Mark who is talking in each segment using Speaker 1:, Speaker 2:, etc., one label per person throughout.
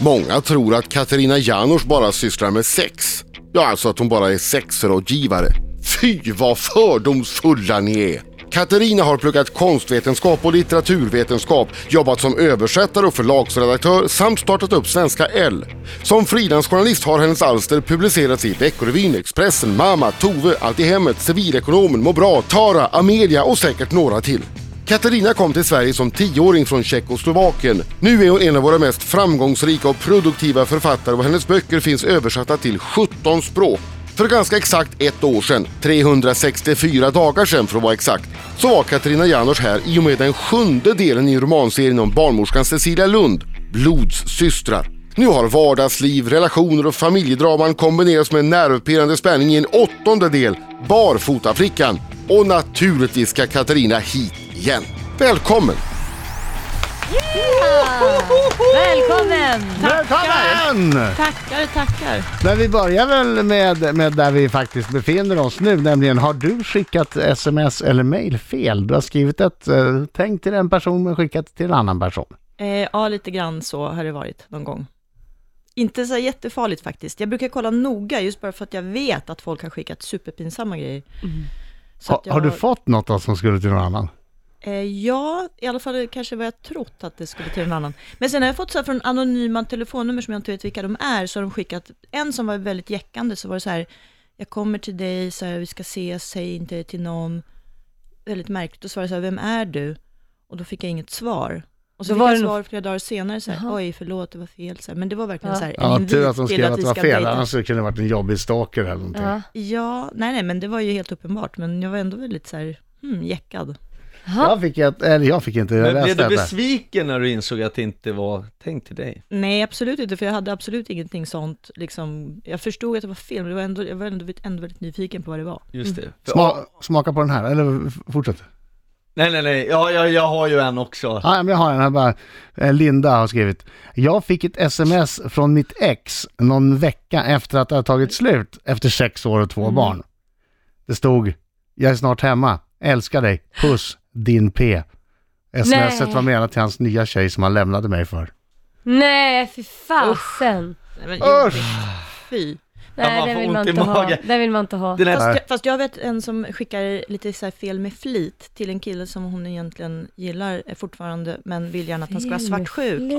Speaker 1: Många tror att Katarina Janouch bara sysslar med sex. Ja, alltså att hon bara är sexrådgivare. Fy vad fördomsfulla ni är! Katarina har pluggat konstvetenskap och litteraturvetenskap, jobbat som översättare och förlagsredaktör samt startat upp Svenska L. Som frilansjournalist har hennes alster publicerats i Veckorevyn, Expressen, Mama, Tove, Allt i hemmet, Civilekonomen, Må bra, Tara, Amelia och säkert några till. Katarina kom till Sverige som tioåring från Tjeckoslovakien. Nu är hon en av våra mest framgångsrika och produktiva författare och hennes böcker finns översatta till 17 språk. För ganska exakt ett år sedan, 364 dagar sedan för att vara exakt, så var Katarina Janouch här i och med den sjunde delen i romanserien om barnmorskan Cecilia Lund, Blodssystrar. Nu har vardagsliv, relationer och familjedraman kombinerats med nervpirrande spänning i en åttonde del, Barfotaflickan. Och naturligtvis ska Katarina hit igen. Välkommen!
Speaker 2: Välkommen!
Speaker 3: Välkommen!
Speaker 2: Tackar, tackar.
Speaker 3: Men vi börjar väl med, med där vi faktiskt befinner oss nu, nämligen har du skickat sms eller mail fel? Du har skrivit ett, eh, tänk till en person men skickat till en annan person.
Speaker 2: Eh, ja, lite grann så har det varit någon gång. Inte så jättefarligt faktiskt. Jag brukar kolla noga just bara för att jag vet att folk har skickat superpinsamma grejer. Så
Speaker 3: Ha,
Speaker 2: att jag
Speaker 3: Har du fått något då som skulle till någon annan?
Speaker 2: Eh, ja, i alla fall kanske vad jag trott att det skulle till en annan. Men sen har jag fått så här från anonyma telefonnummer som jag inte vet vilka de är, så har de skickat, en som var väldigt jäckande, så var det så här, jag kommer till dig, så här, vi ska ses, säg inte det till någon. Väldigt märkligt, och så var det så här, vem är du? Och då fick jag inget svar. Och så
Speaker 4: Då
Speaker 2: fick
Speaker 4: var
Speaker 2: jag
Speaker 4: det nog-
Speaker 2: svar flera dagar senare, så här, oj förlåt, det var fel. Så här, men det var verkligen
Speaker 4: Ja.
Speaker 2: så här,
Speaker 3: Ja,
Speaker 2: en
Speaker 3: tur att de
Speaker 2: invit till
Speaker 3: skrev att
Speaker 2: vi
Speaker 3: det var
Speaker 2: ska
Speaker 3: fel,
Speaker 2: dejta.
Speaker 3: annars så kunde det varit en jobbig stalker eller någonting.
Speaker 4: Ja.
Speaker 2: Ja, nej nej, men det var ju helt uppenbart, men jag var ändå väldigt så här, hmm, jäckad.
Speaker 3: Jag fick ett, eller jag fick inte, jag
Speaker 5: Men blev
Speaker 3: läste
Speaker 5: du
Speaker 3: detta.
Speaker 5: besviken när du insåg att det inte var tänkt till dig?
Speaker 2: Nej, absolut inte, för jag hade absolut ingenting sånt. Liksom, jag förstod att det var fel, men det var ändå, jag var ändå, ändå väldigt nyfiken på vad det var.
Speaker 5: Just
Speaker 3: Mm.
Speaker 5: det. För,
Speaker 3: Sma, smaka på den här, eller f- fortsätt.
Speaker 5: nej, nej, nej. Ja, jag, jag har ju en också.
Speaker 3: Ja, men jag har en här bara. Eh, Linda har skrivit. Jag fick ett sms från mitt ex någon vecka efter att det har tagit slut efter sex år och två
Speaker 5: Mm.
Speaker 3: barn. Det stod, jag är snart hemma, älskar dig, puss, din P. Smset
Speaker 4: Nej.
Speaker 3: var menat till hans nya tjej som han lämnade mig för.
Speaker 4: Nej, fy fasen.
Speaker 2: Nej, men, jobbigt. Fy.
Speaker 5: Ja,
Speaker 4: Nej,
Speaker 5: man
Speaker 4: den
Speaker 5: får
Speaker 4: vill man
Speaker 5: ont i
Speaker 4: inte ha.
Speaker 5: magen.
Speaker 4: Den vill man inte ha.
Speaker 5: Den här,
Speaker 2: Fast, jag- fast jag vet en som skickar lite så här fel med flit till en kille som hon egentligen gillar eh, fortfarande, men vill gärna att han ska vara svartsjuk.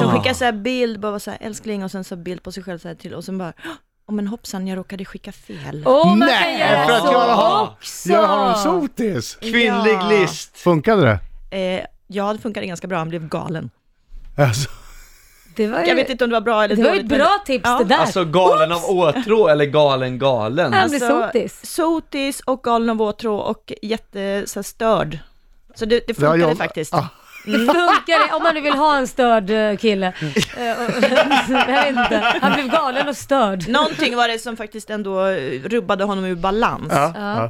Speaker 2: Som skickar så här bild, bara så här, älskling, och sen så här bild på sig själv så här till, och sen bara, åh oh, men hoppsan, jag råkade skicka fel.
Speaker 4: Åh, man
Speaker 3: Nej,
Speaker 4: kan göra
Speaker 3: för att
Speaker 4: så
Speaker 3: jag har-
Speaker 4: också!
Speaker 3: Jag har en sotis!
Speaker 5: kvinnlig
Speaker 2: Ja.
Speaker 5: list.
Speaker 3: Funkade det?
Speaker 2: Eh, ja, det funkade ganska bra, han blev galen.
Speaker 3: Alltså,
Speaker 4: Det var ju,
Speaker 2: Jag vet inte om det var bra eller
Speaker 4: det var ju ett
Speaker 2: men-
Speaker 4: bra tips
Speaker 2: Ja.
Speaker 4: det där.
Speaker 5: Alltså galen av åtrå eller galen galen.
Speaker 4: Han blir sotis.
Speaker 2: Alltså, sotis och galen av åtrå och jätte så här, störd. Så det, det
Speaker 3: har
Speaker 2: funkade
Speaker 3: jag-
Speaker 2: faktiskt.
Speaker 3: Ah.
Speaker 4: Funkar det om man nu vill ha en störd eh, kille? Eh, och- jag vet inte. Han blev galen och störd.
Speaker 2: Någonting var det som faktiskt ändå eh, rubbade honom ur balans.
Speaker 3: ja,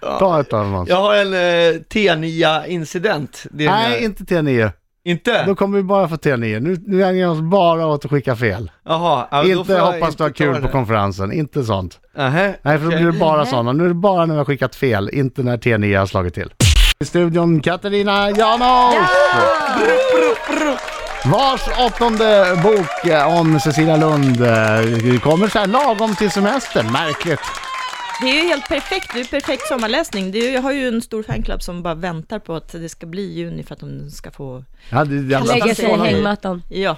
Speaker 3: ja. Ta ett av dem.
Speaker 5: Jag har en eh, T9 incident. Det är
Speaker 3: Nej, inte T9.
Speaker 5: inte?
Speaker 3: Då kommer vi bara få T9. Nu, nu ägnar vi oss bara åt att skicka fel.
Speaker 5: Jaha. ja, då får
Speaker 3: inte
Speaker 5: jag
Speaker 3: hoppas du har
Speaker 5: inte ta
Speaker 3: kul på
Speaker 5: det.
Speaker 3: konferensen, inte sånt.
Speaker 5: Nähä,
Speaker 3: Nej, för då
Speaker 5: okej.
Speaker 3: blir det bara sådana. Nu är det bara när vi har skickat fel, inte när T9 har slagit till. I studion Katarina Janouch! Vars åttonde bok eh, om Cecilia Lund eh, kommer så här lagom till semestern. Märkligt.
Speaker 2: Det är ju helt perfekt, det är ju perfekt sommarläsning. Det är ju, jag har ju en stor fanclub som bara väntar på att det ska bli juni för att de ska få,
Speaker 3: Ja, det, det,
Speaker 2: Lägga
Speaker 4: Lägga sig i
Speaker 2: förvånande.
Speaker 4: hängmattan.
Speaker 2: ja.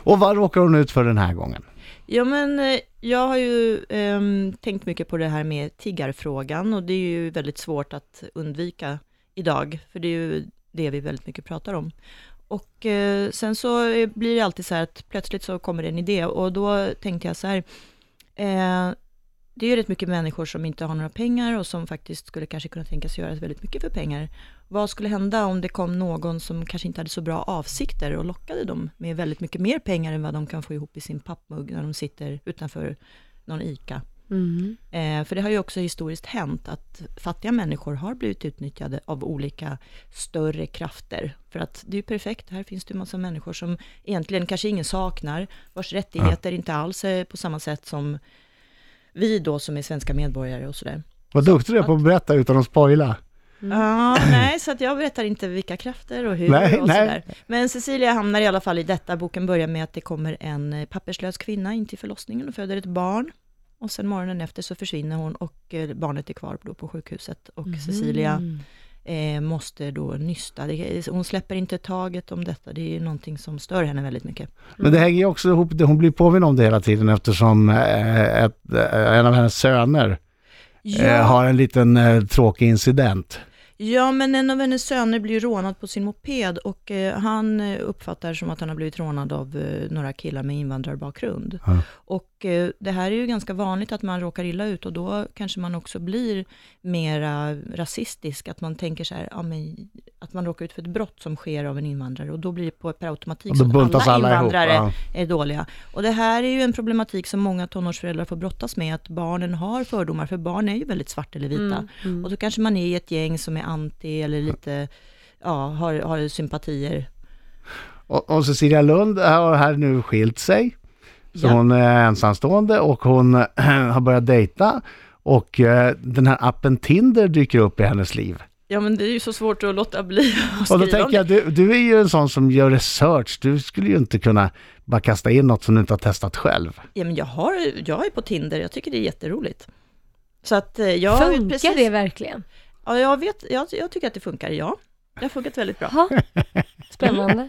Speaker 3: Och vad råkar hon ut för den här gången?
Speaker 2: Ja men eh, jag har ju ehm, tänkt mycket på det här med tiggarfrågan och det är ju väldigt svårt att undvika idag, för det är ju det vi väldigt mycket pratar om. Och eh, sen så eh, blir det alltid så här att plötsligt så kommer det en idé och då tänkte jag så här, eh, det är ju rätt mycket människor som inte har några pengar och som faktiskt skulle kanske kunna tänka sig göra väldigt mycket för pengar. Vad skulle hända om det kom någon som kanske inte hade så bra avsikter och lockade dem med väldigt mycket mer pengar än vad de kan få ihop i sin pappmugg när de sitter utanför någon ICA?
Speaker 4: Mm.
Speaker 2: Eh, för det har ju också historiskt hänt att fattiga människor har blivit utnyttjade av olika större krafter. För att det är ju perfekt, här finns det ju massa människor som egentligen kanske ingen saknar, vars rättigheter inte alls är på samma sätt som vi då som är svenska medborgare och sådär.
Speaker 3: Vad duktig du är på att berätta utan att spoila.
Speaker 2: Ja, nej, så att jag berättar inte vilka krafter och hur
Speaker 3: Mm. Nej,
Speaker 2: och
Speaker 3: nej.
Speaker 2: sådär. Men Cecilia hamnar i alla fall i detta. Boken börjar med att det kommer en eh, papperslös kvinna in till förlossningen och föder ett barn. Och sen morgonen efter så försvinner hon och eh, barnet är kvar då på sjukhuset. Och
Speaker 3: Mm.
Speaker 2: Cecilia
Speaker 4: Mm.
Speaker 2: eh, måste då nysta. Det, är- hon släpper inte taget om detta. Det är någonting som stör henne väldigt mycket.
Speaker 3: Men det hänger ju också ihop, hon blir påmind om det hela tiden eftersom eh, ett, eh, en av hennes söner eh, har en liten eh, tråkig incident.
Speaker 2: Ja, men en av hennes söner blir rånad på sin moped och eh, han eh, uppfattar som att han har blivit rånad av eh, några killar med invandrarbakgrund.
Speaker 3: Ja.
Speaker 2: Och eh, det här är ju ganska vanligt att man råkar illa ut och då kanske man också blir mera rasistisk, att man tänker så här, ja, men, att man råkar ut för ett brott som sker av en invandrare och då blir det på per automatik
Speaker 3: Och då
Speaker 2: så att
Speaker 3: buntas alla ihop,
Speaker 2: Liksom, invandrare
Speaker 3: ja.
Speaker 2: är dåliga. Och det här är ju en problematik som många tonårsföräldrar får brottas med, att barnen har fördomar, för barn är ju väldigt svarta eller vita.
Speaker 4: Mm.
Speaker 2: Och då kanske man är i ett gäng som är anti eller lite, ja, har, har sympatier.
Speaker 3: Och, och Cecilia Lund har här nu skilt sig. Så
Speaker 2: Ja.
Speaker 3: hon är ensamstående och hon har börjat dejta. Och eh, den här appen Tinder dyker upp i hennes liv.
Speaker 2: Ja, men det är ju så svårt att låta bli att
Speaker 3: Och då tänker jag, du, du är ju en sån som gör research. Du skulle ju inte kunna bara kasta in något som du inte har testat själv.
Speaker 2: Ja, men jag, har, jag är på Tinder, jag tycker det är jätteroligt. Så att eh, jag... har ju
Speaker 4: Funkar
Speaker 2: precis-
Speaker 4: det verkligen?
Speaker 2: Ja, jag, vet, jag, jag tycker att det funkar, ja. Det har funkat väldigt bra.
Speaker 4: Ja. Spännande.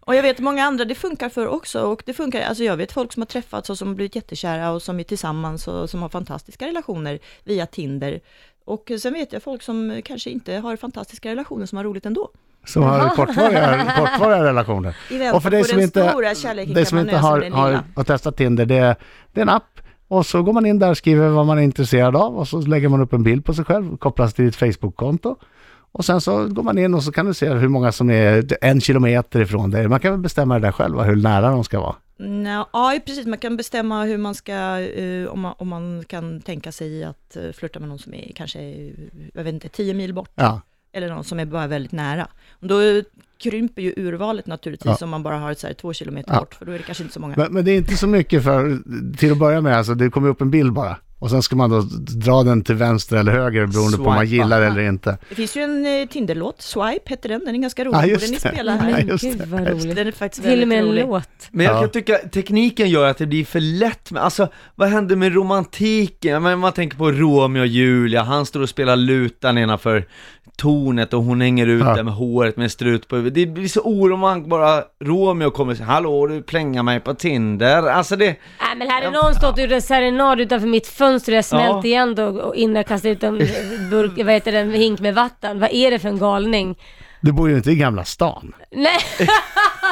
Speaker 2: Och jag vet många andra det funkar för också. Och det funkar, alltså jag vet folk som har träffats och som blivit jättekära och som är tillsammans och som har fantastiska relationer via Tinder. Och sen vet jag folk som kanske inte har fantastiska relationer som har roligt ändå.
Speaker 3: Som har kortvariga, kortvariga relationer.
Speaker 2: I väntan
Speaker 3: Och för dig
Speaker 2: på
Speaker 3: som
Speaker 2: den
Speaker 3: inte,
Speaker 2: stora kärleken
Speaker 3: dig
Speaker 2: kan
Speaker 3: som
Speaker 2: man
Speaker 3: inte
Speaker 2: nöja sig
Speaker 3: har,
Speaker 2: med den
Speaker 3: har,
Speaker 2: lilla.
Speaker 3: har testat Tinder, det är, det är en app. Och så går man in där och skriver vad man är intresserad av och så lägger man upp en bild på sig själv, kopplas till ditt Facebook-konto. Och sen så går man in och så kan du se hur många som är en kilometer ifrån dig. Man kan väl bestämma det där själv, va, hur nära de ska vara.
Speaker 2: Nå, ja, precis. Man kan bestämma hur man ska, eh, om, man, om man kan tänka sig att uh, flirta med någon som är kanske, eh, jag vet inte, 10 mil bort.
Speaker 3: Ja.
Speaker 2: Eller någon som är bara väldigt nära. Och då krymper ju urvalet naturligtvis om man bara har så här två kilometer
Speaker 3: Ja.
Speaker 2: bort, för då är det kanske inte så många.
Speaker 3: Men, men det är inte så mycket för, till att börja med, alltså, det kommer upp en bild bara. Och sen ska man då dra den till vänster eller höger beroende på om man
Speaker 5: Swipa.
Speaker 3: gillar eller inte.
Speaker 2: Det finns ju en eh, Tinder-låt, Swipe heter den, den är ganska rolig,
Speaker 3: Ja,
Speaker 2: ah,
Speaker 3: just
Speaker 2: den ni
Speaker 3: det.
Speaker 2: spelar
Speaker 4: Nej,
Speaker 2: här.
Speaker 3: Nej,
Speaker 4: men
Speaker 3: just
Speaker 4: gud
Speaker 3: det.
Speaker 4: vad roligt.
Speaker 2: Den är faktiskt
Speaker 4: Till och med
Speaker 2: väldigt
Speaker 4: en
Speaker 2: rolig.
Speaker 4: låt.
Speaker 5: Men jag
Speaker 3: Ja.
Speaker 5: kan tycka, tekniken gör att det blir för lätt med, alltså vad händer med romantiken? Ja, Men man tänker på Romeo och Julia, han står och spelar lutan innanför tornet och hon hänger ut
Speaker 3: Ja.
Speaker 5: där med håret med en strut på huvudet. Det blir så oromantiskt bara Romeo kommer och säger ”Hallå, du plängar mig på Tinder”. Alltså det,
Speaker 4: Nej men hade någon stått ur en serenad utanför mitt fönster och jag smält
Speaker 5: Ja.
Speaker 4: igen då och innan jag kastade ut en burk, vad heter det, en hink med vatten. Vad är det för en galning?
Speaker 3: Du bor ju inte i Gamla stan.
Speaker 4: Nej!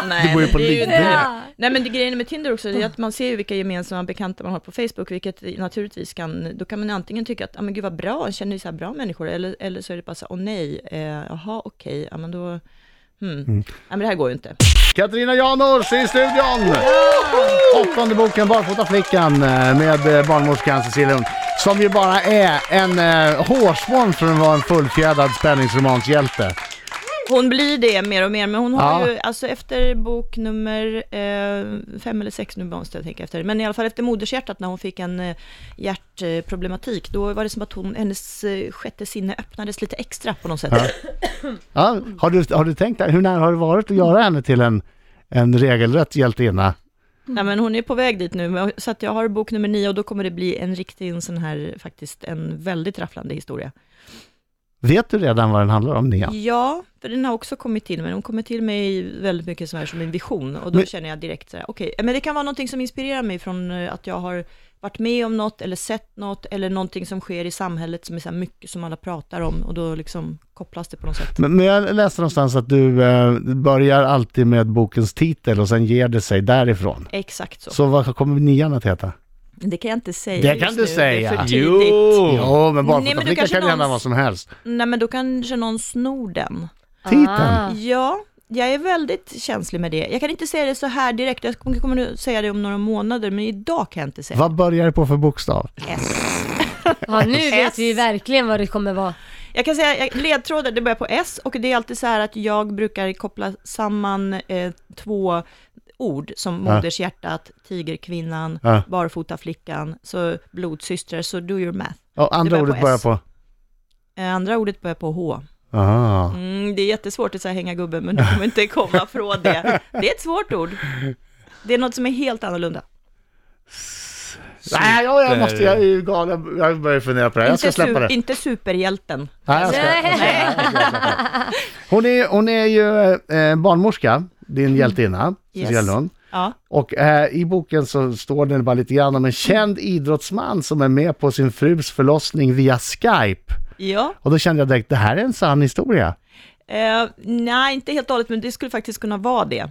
Speaker 2: Nej,
Speaker 3: Du bor ju
Speaker 2: men
Speaker 3: på
Speaker 2: det är ju
Speaker 3: Lidingö.
Speaker 2: inte- Nej men det grejen med Tinder också, det är att man ser ju vilka gemensamma bekanta man har på Facebook, vilket naturligtvis kan, då kan man antingen tycka att, ja men gud vad bra, jag känner ju så här bra människor, eller, eller så är det bara så här, åh nej, eh, jaha okej, ja men då, hmm. ja men det här går ju inte.
Speaker 3: Katarina Janors i studion! Åttonde boken Barfota flickan eh, med eh, barnmorskan Cecilia Lund. Som ju bara är en eh, hårsmån från att vara en fullfjädrad spänningsromanshjälte.
Speaker 2: Hon blir det mer och mer, men hon har
Speaker 3: Ja.
Speaker 2: ju, alltså efter bok nummer eh, fem eller sex, nu måste jag tänka efter, men i alla fall efter modershjärtat när hon fick en eh, hjärtproblematik, då var det som att hon, hennes eh, sjätte sinne öppnades lite extra på något sätt.
Speaker 3: Ja, har, du, har du tänkt, hur nära har det varit att göra henne till en, en regelrätt hjältinna? Mm.
Speaker 2: Nej men hon är på väg dit nu, men- så att jag har bok nummer nio och då kommer det bli en riktig en sån här, faktiskt en väldigt rafflande historia.
Speaker 3: Vet du redan vad den handlar om, Nia?
Speaker 2: Ja, för den har också kommit till mig, hon kommer till mig väldigt mycket så här som en vision och då
Speaker 3: Men-
Speaker 2: känner jag direkt så här, okej, men det kan vara någonting som inspirerar mig från eh, att jag har varit med om något eller sett något eller någonting som sker i samhället som är så här mycket som alla pratar om och då liksom kopplas det på något sätt.
Speaker 3: Men, men jag läste någonstans att du eh, börjar alltid med bokens titel och sen ger det sig därifrån.
Speaker 2: Exakt så.
Speaker 3: Så vad kommer nian att heta?
Speaker 2: Det kan jag inte säga
Speaker 3: Det
Speaker 2: just
Speaker 3: kan du
Speaker 2: nu, Det är
Speaker 3: säga.
Speaker 2: för tidigt.
Speaker 3: Jo, men
Speaker 2: Oh. Nej, men du
Speaker 3: Barfotaflickan
Speaker 2: kanske
Speaker 3: kan hända
Speaker 2: någons-
Speaker 3: vad som helst.
Speaker 2: Nej men då kanske någon snor den.
Speaker 3: Titeln?
Speaker 4: Ah.
Speaker 2: Ja, jag är väldigt känslig med det. Jag kan inte säga det så här direkt, jag kommer- kommer nu säga det om några månader, men idag kan jag inte säga
Speaker 3: Vad börjar det på för bokstav?
Speaker 2: S.
Speaker 4: Ja nu vet
Speaker 2: S.
Speaker 4: vi verkligen vad det kommer vara.
Speaker 2: Jag kan säga, jag- ledtrådar, det börjar på S, och det är alltid så här att jag brukar koppla samman eh, två ord som
Speaker 3: Ja.
Speaker 2: modershjärtat, tigerkvinnan,
Speaker 3: Ja.
Speaker 2: barfota flickan, så blodsystrar, så do your math.
Speaker 3: Och andra
Speaker 2: Det börjar på
Speaker 3: ordet börjar
Speaker 2: S.
Speaker 3: på?
Speaker 2: Eh, Andra ordet börjar på H.
Speaker 3: Aha.
Speaker 2: Mm, det är jättesvårt att säga hänga gubben, men du kommer inte komma från det. Det är ett svårt ord. Det är något som är helt annorlunda.
Speaker 3: Nej, jag, jag måste, jag är ju galen. Jag börjar fundera på det här. Jag ska
Speaker 2: inte,
Speaker 3: släppa det.
Speaker 2: inte superhjälten.
Speaker 3: Nej, jag ska, jag ska, jag ska, jag ska, jag ska. Hon, är, hon är ju eh, barnmorska, din hjältinna,
Speaker 2: Mm. Yes.
Speaker 3: Cecilia Lund.
Speaker 2: Ja.
Speaker 3: Och eh, i boken så står det bara lite grann om en känd idrottsman som är med på sin frus förlossning via Skype.
Speaker 2: ja.
Speaker 3: Och då kände jag direkt, det här är en sann historia.
Speaker 2: Eh, nej, inte helt och hållet, men det skulle faktiskt kunna vara det.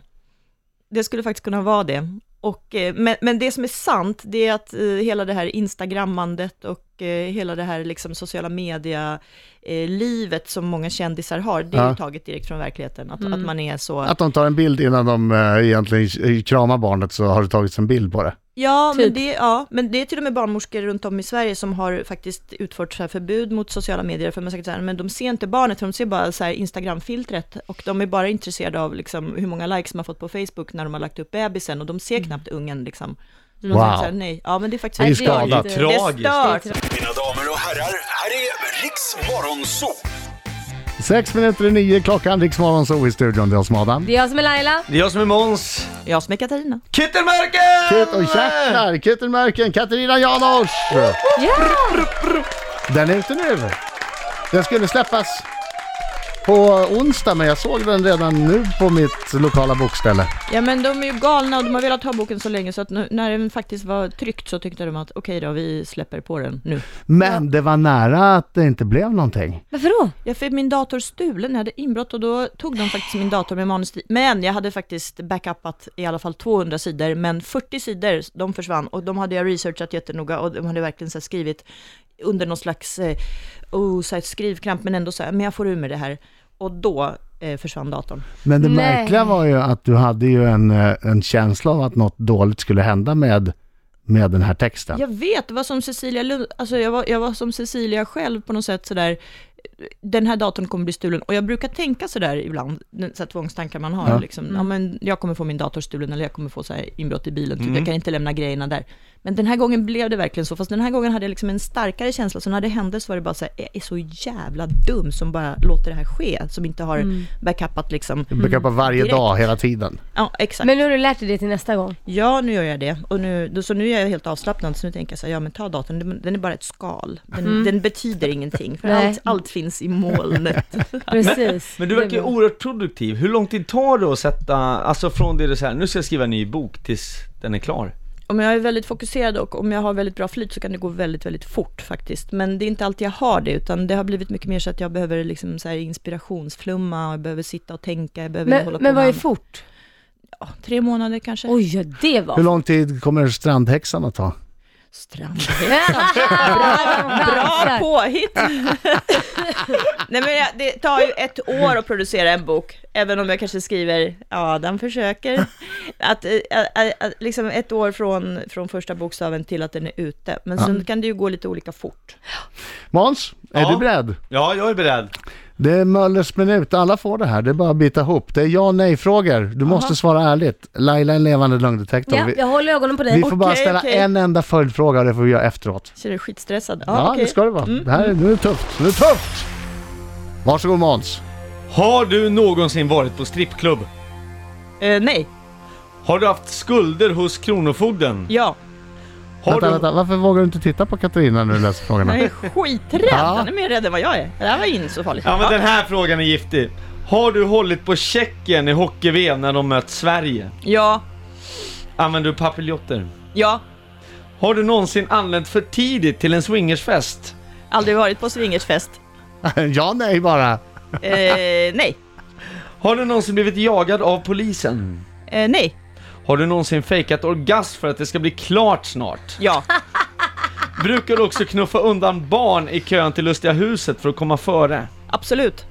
Speaker 2: Det skulle faktiskt kunna vara det. Och, eh, men, men det som är sant, det är att eh, hela det här instagrammandet och eh, hela det här liksom, sociala media-livet som många kändisar har, det är
Speaker 3: Ja.
Speaker 2: ju taget direkt från verkligheten. Att, att man är så...
Speaker 3: Att de tar en bild innan de eh, egentligen kramar barnet så har det tagits en bild på det.
Speaker 2: Ja, men
Speaker 4: Typ.
Speaker 2: det, ja, men det är till och med barnmorskor runt om i Sverige som har faktiskt utfört så här förbud mot sociala medier, för man säger så här, men de ser inte barnet, för de ser bara så här Instagram-filtret, och de är bara intresserade av liksom, hur många likes man har fått på Facebook när de har lagt upp bebisen, och de ser knappt ungen liksom. Så de
Speaker 3: Wow.
Speaker 2: säger så här, nej, ja men det är faktiskt...
Speaker 3: Det är ju
Speaker 4: Nej, det är
Speaker 3: skadat.
Speaker 4: inte-
Speaker 5: Det är tragiskt.
Speaker 2: Det är stört.
Speaker 6: Mina damer och herrar, här är Riks Morgonzoo!
Speaker 3: Sex minuter i nio klockan, Riksmorgon så i studion, det är oss Adam.
Speaker 4: Det är jag som är Laila.
Speaker 5: Det är jag som är Måns.
Speaker 2: Jag som är Katarina.
Speaker 5: Kittelmärken!
Speaker 3: Kit och jäklar, Kitten Märken, Katarina Janouch! Den är ute nu. Den skulle släppas på onsdag, men jag såg den redan nu på mitt lokala bokställe.
Speaker 2: Ja men de är ju galna och de har velat ha boken så länge, så att nu, när den faktiskt var tryckt så tyckte de att okej då, vi släpper på den nu.
Speaker 3: Men det var nära att det inte blev någonting.
Speaker 4: Varför då?
Speaker 2: Ja, för min dator stulen, jag hade inbrott och då tog de faktiskt min dator med manus till- Men jag hade faktiskt backupat i alla fall 200 sidor, men 40 sidor, de försvann. Och de hade jag researchat jättenoga och de hade verkligen så här skrivit under någon slags eh, oh, så här skrivkramp, men ändå så här, men jag får ur med det här. Och då eh, försvann datorn.
Speaker 3: Men det
Speaker 4: Nej.
Speaker 3: märkliga var ju att du hade ju en, eh, en känsla av att något dåligt skulle hända med, med den här texten.
Speaker 2: Jag vet, det var som Cecilia Lund, alltså jag var, jag var som Cecilia själv på något sätt sådär, den här datorn kommer bli stulen. Och jag brukar tänka sådär ibland, den- så här tvångstankar man har,
Speaker 3: Ja.
Speaker 2: liksom, ja, men jag kommer få min dator stulen eller jag kommer få så här inbrott i bilen, typ. jag kan inte lämna grejerna där. Men den här gången blev det verkligen så, fast den här gången hade jag liksom en starkare känsla, så när det hände så var det bara så här, jag är så jävla dum som bara låter det här ske, som inte har backupat liksom.
Speaker 3: Du brukar på varje
Speaker 2: Direkt.
Speaker 3: dag, hela tiden.
Speaker 2: Ja, exakt.
Speaker 4: Men nu har du lärt dig det till nästa gång.
Speaker 2: Ja, nu gör jag det. Och nu, då, så nu är jag helt avslappnad, så nu tänker jag så här, ja men ta datorn, den, den är bara ett skal. Den, den betyder ingenting, för
Speaker 4: Mm. Nej.
Speaker 2: allt, allt finns i molnet.
Speaker 4: Precis.
Speaker 5: Men du verkar ju oerhört produktiv. Hur lång tid tar det att sätta, alltså från det du säger, nu ska jag skriva en ny bok tills den är klar?
Speaker 2: Om jag är väldigt fokuserad och om jag har väldigt bra flyt så kan det gå väldigt, väldigt fort faktiskt. Men det är inte alltid jag har det, utan det har blivit mycket mer så att jag behöver liksom så här inspirationsflumma, och jag behöver sitta och tänka, jag behöver hålla
Speaker 4: Men,
Speaker 2: på
Speaker 4: men vad är
Speaker 2: med
Speaker 4: fort?
Speaker 2: annat. Tre månader kanske.
Speaker 4: Oj, ja, det
Speaker 3: Hur
Speaker 4: var...
Speaker 3: lång tid kommer strandhäxan att ta?
Speaker 2: Strand. Bra påhitt! Nej men jag, det tar ju ett år att producera en bok, även om jag kanske skriver Adam försöker. Att, eh, eh, eh, liksom ett år från, från första bokstaven till att den är ute. Men sen kan det ju gå lite olika fort.
Speaker 3: Måns, är
Speaker 5: Ja.
Speaker 3: du beredd?
Speaker 5: Ja, jag är beredd.
Speaker 3: Det är Möllers minut, alla får det här. Det är bara att bita ihop. Det är ja och nej-frågor. Du måste svara ärligt. Laila är en levande lögndetektor.
Speaker 4: Ja,
Speaker 3: vi,
Speaker 4: jag håller ögonen på
Speaker 3: vi
Speaker 4: dig.
Speaker 3: får bara
Speaker 2: Okej,
Speaker 3: ställa
Speaker 2: okej.
Speaker 3: en enda följdfråga och det får vi göra efteråt.
Speaker 2: Så är det skitstressad. Ja,
Speaker 3: Ja,
Speaker 2: okej.
Speaker 3: det ska det vara. Det här är, nu är det tufft. Nu är det tufft! Varsågod Måns.
Speaker 5: Har du någonsin varit på strippklubb?
Speaker 2: Eh, nej,
Speaker 5: Har du haft skulder hos Kronofogden?
Speaker 2: ja.
Speaker 5: Har
Speaker 3: Vänta,
Speaker 5: du...
Speaker 3: vänta. Varför vågar du inte titta på Katarina när du läser frågorna?
Speaker 2: Jag är skiträdd.
Speaker 3: Ja.
Speaker 2: Han är mer rädd än vad jag är. Det här var inte så farligt.
Speaker 5: Ja men
Speaker 2: Ja.
Speaker 5: den här frågan är giftig. Har du hållit på Tjeckien i hockey-VM när de mött Sverige?
Speaker 2: ja,
Speaker 5: Använder du papiljotter?
Speaker 2: ja.
Speaker 5: Har du någonsin anlänt för tidigt till en swingersfest?
Speaker 2: Aldrig varit på swingersfest.
Speaker 3: ja, nej bara.
Speaker 2: Eh, nej,
Speaker 5: Har du någonsin blivit jagad av polisen?
Speaker 2: eh, nej,
Speaker 5: Har du någonsin fejkat orgasm för att det ska bli klart snart?
Speaker 2: ja.
Speaker 5: Brukar du också knuffa undan barn i kön till Lustiga huset för att komma före?
Speaker 2: Absolut.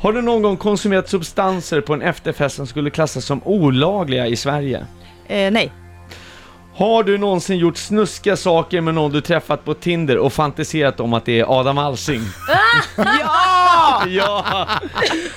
Speaker 5: Har du någon gång konsumerat substanser på en efterfest som skulle klassas som olagliga i Sverige?
Speaker 2: Eh, nej,
Speaker 5: Har du någonsin gjort snuska saker med någon du träffat på Tinder och fantiserat om att det är Adam Alsing?
Speaker 2: ja!
Speaker 5: Ja!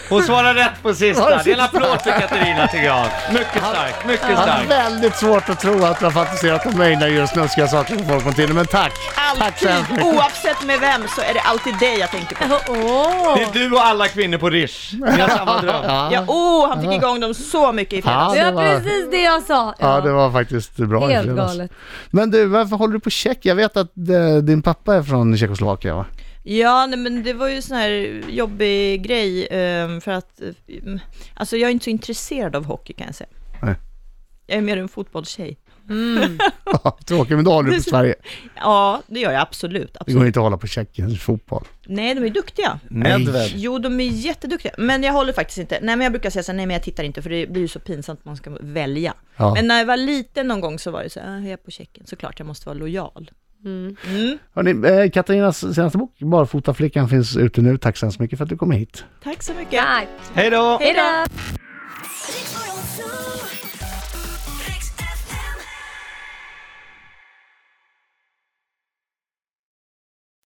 Speaker 5: Hon svarade rätt på
Speaker 3: Var det
Speaker 5: sista. Det är en
Speaker 3: sista?
Speaker 5: applåd för Katarina tycker jag. Mycket starkt, mycket
Speaker 3: Jag hade
Speaker 5: starkt.
Speaker 3: väldigt svårt att tro att du har fantiserat om mig när jag gör snuskiga saker för folk på Tinder, men tack! Tack så hemskt
Speaker 2: Alltid, Oh,
Speaker 3: mycket.
Speaker 2: oavsett med vem, så är det alltid dig jag tänker på.
Speaker 4: Åh!
Speaker 5: Det är du och alla kvinnor på Rish. Ni har samma dröm.
Speaker 2: Ja, oh, han fick igång dem så mycket i fredags.
Speaker 3: Ja,
Speaker 4: Det
Speaker 3: det
Speaker 4: var
Speaker 3: var,
Speaker 4: precis det jag sa.
Speaker 3: ja, det var faktiskt bra i
Speaker 4: Helt
Speaker 3: fredags.
Speaker 4: galet.
Speaker 3: Men du, varför håller du på Tjeck? Jag vet att eh, din pappa är från Tjeckoslovakien va?
Speaker 2: Ja, nej, men det var ju sån här jobbig grej eh, för att, eh, mm, alltså jag är inte så intresserad av hockey kan jag säga.
Speaker 3: Nej.
Speaker 2: Jag är mer en fotbollstjej.
Speaker 3: Ja, Tråkigt, men då håller du på Sverige.
Speaker 2: Ja, det gör jag absolut.
Speaker 3: Det går
Speaker 2: absolut.
Speaker 3: inte att hålla på Tjeckien i fotboll.
Speaker 2: Nej, de är duktiga.
Speaker 5: Nedved.
Speaker 2: Jo, de är jätteduktiga, men jag håller faktiskt inte. Nej, men jag brukar säga så här, nej men jag tittar inte, för det blir ju så pinsamt man ska välja.
Speaker 3: Ja.
Speaker 2: Men när jag var liten någon gång så var det så här, "Ah, jag är på Tjeckien, såklart jag måste vara lojal. Mm.
Speaker 3: Hörrni, eh, Katarinas senaste bok, Barfotaflickan, finns ute nu. Tack så hemskt mycket för att du kom hit.
Speaker 2: Tack så mycket.
Speaker 4: Nej.
Speaker 5: Hej då!
Speaker 4: Hej då!
Speaker 7: Riks Morgonzoo.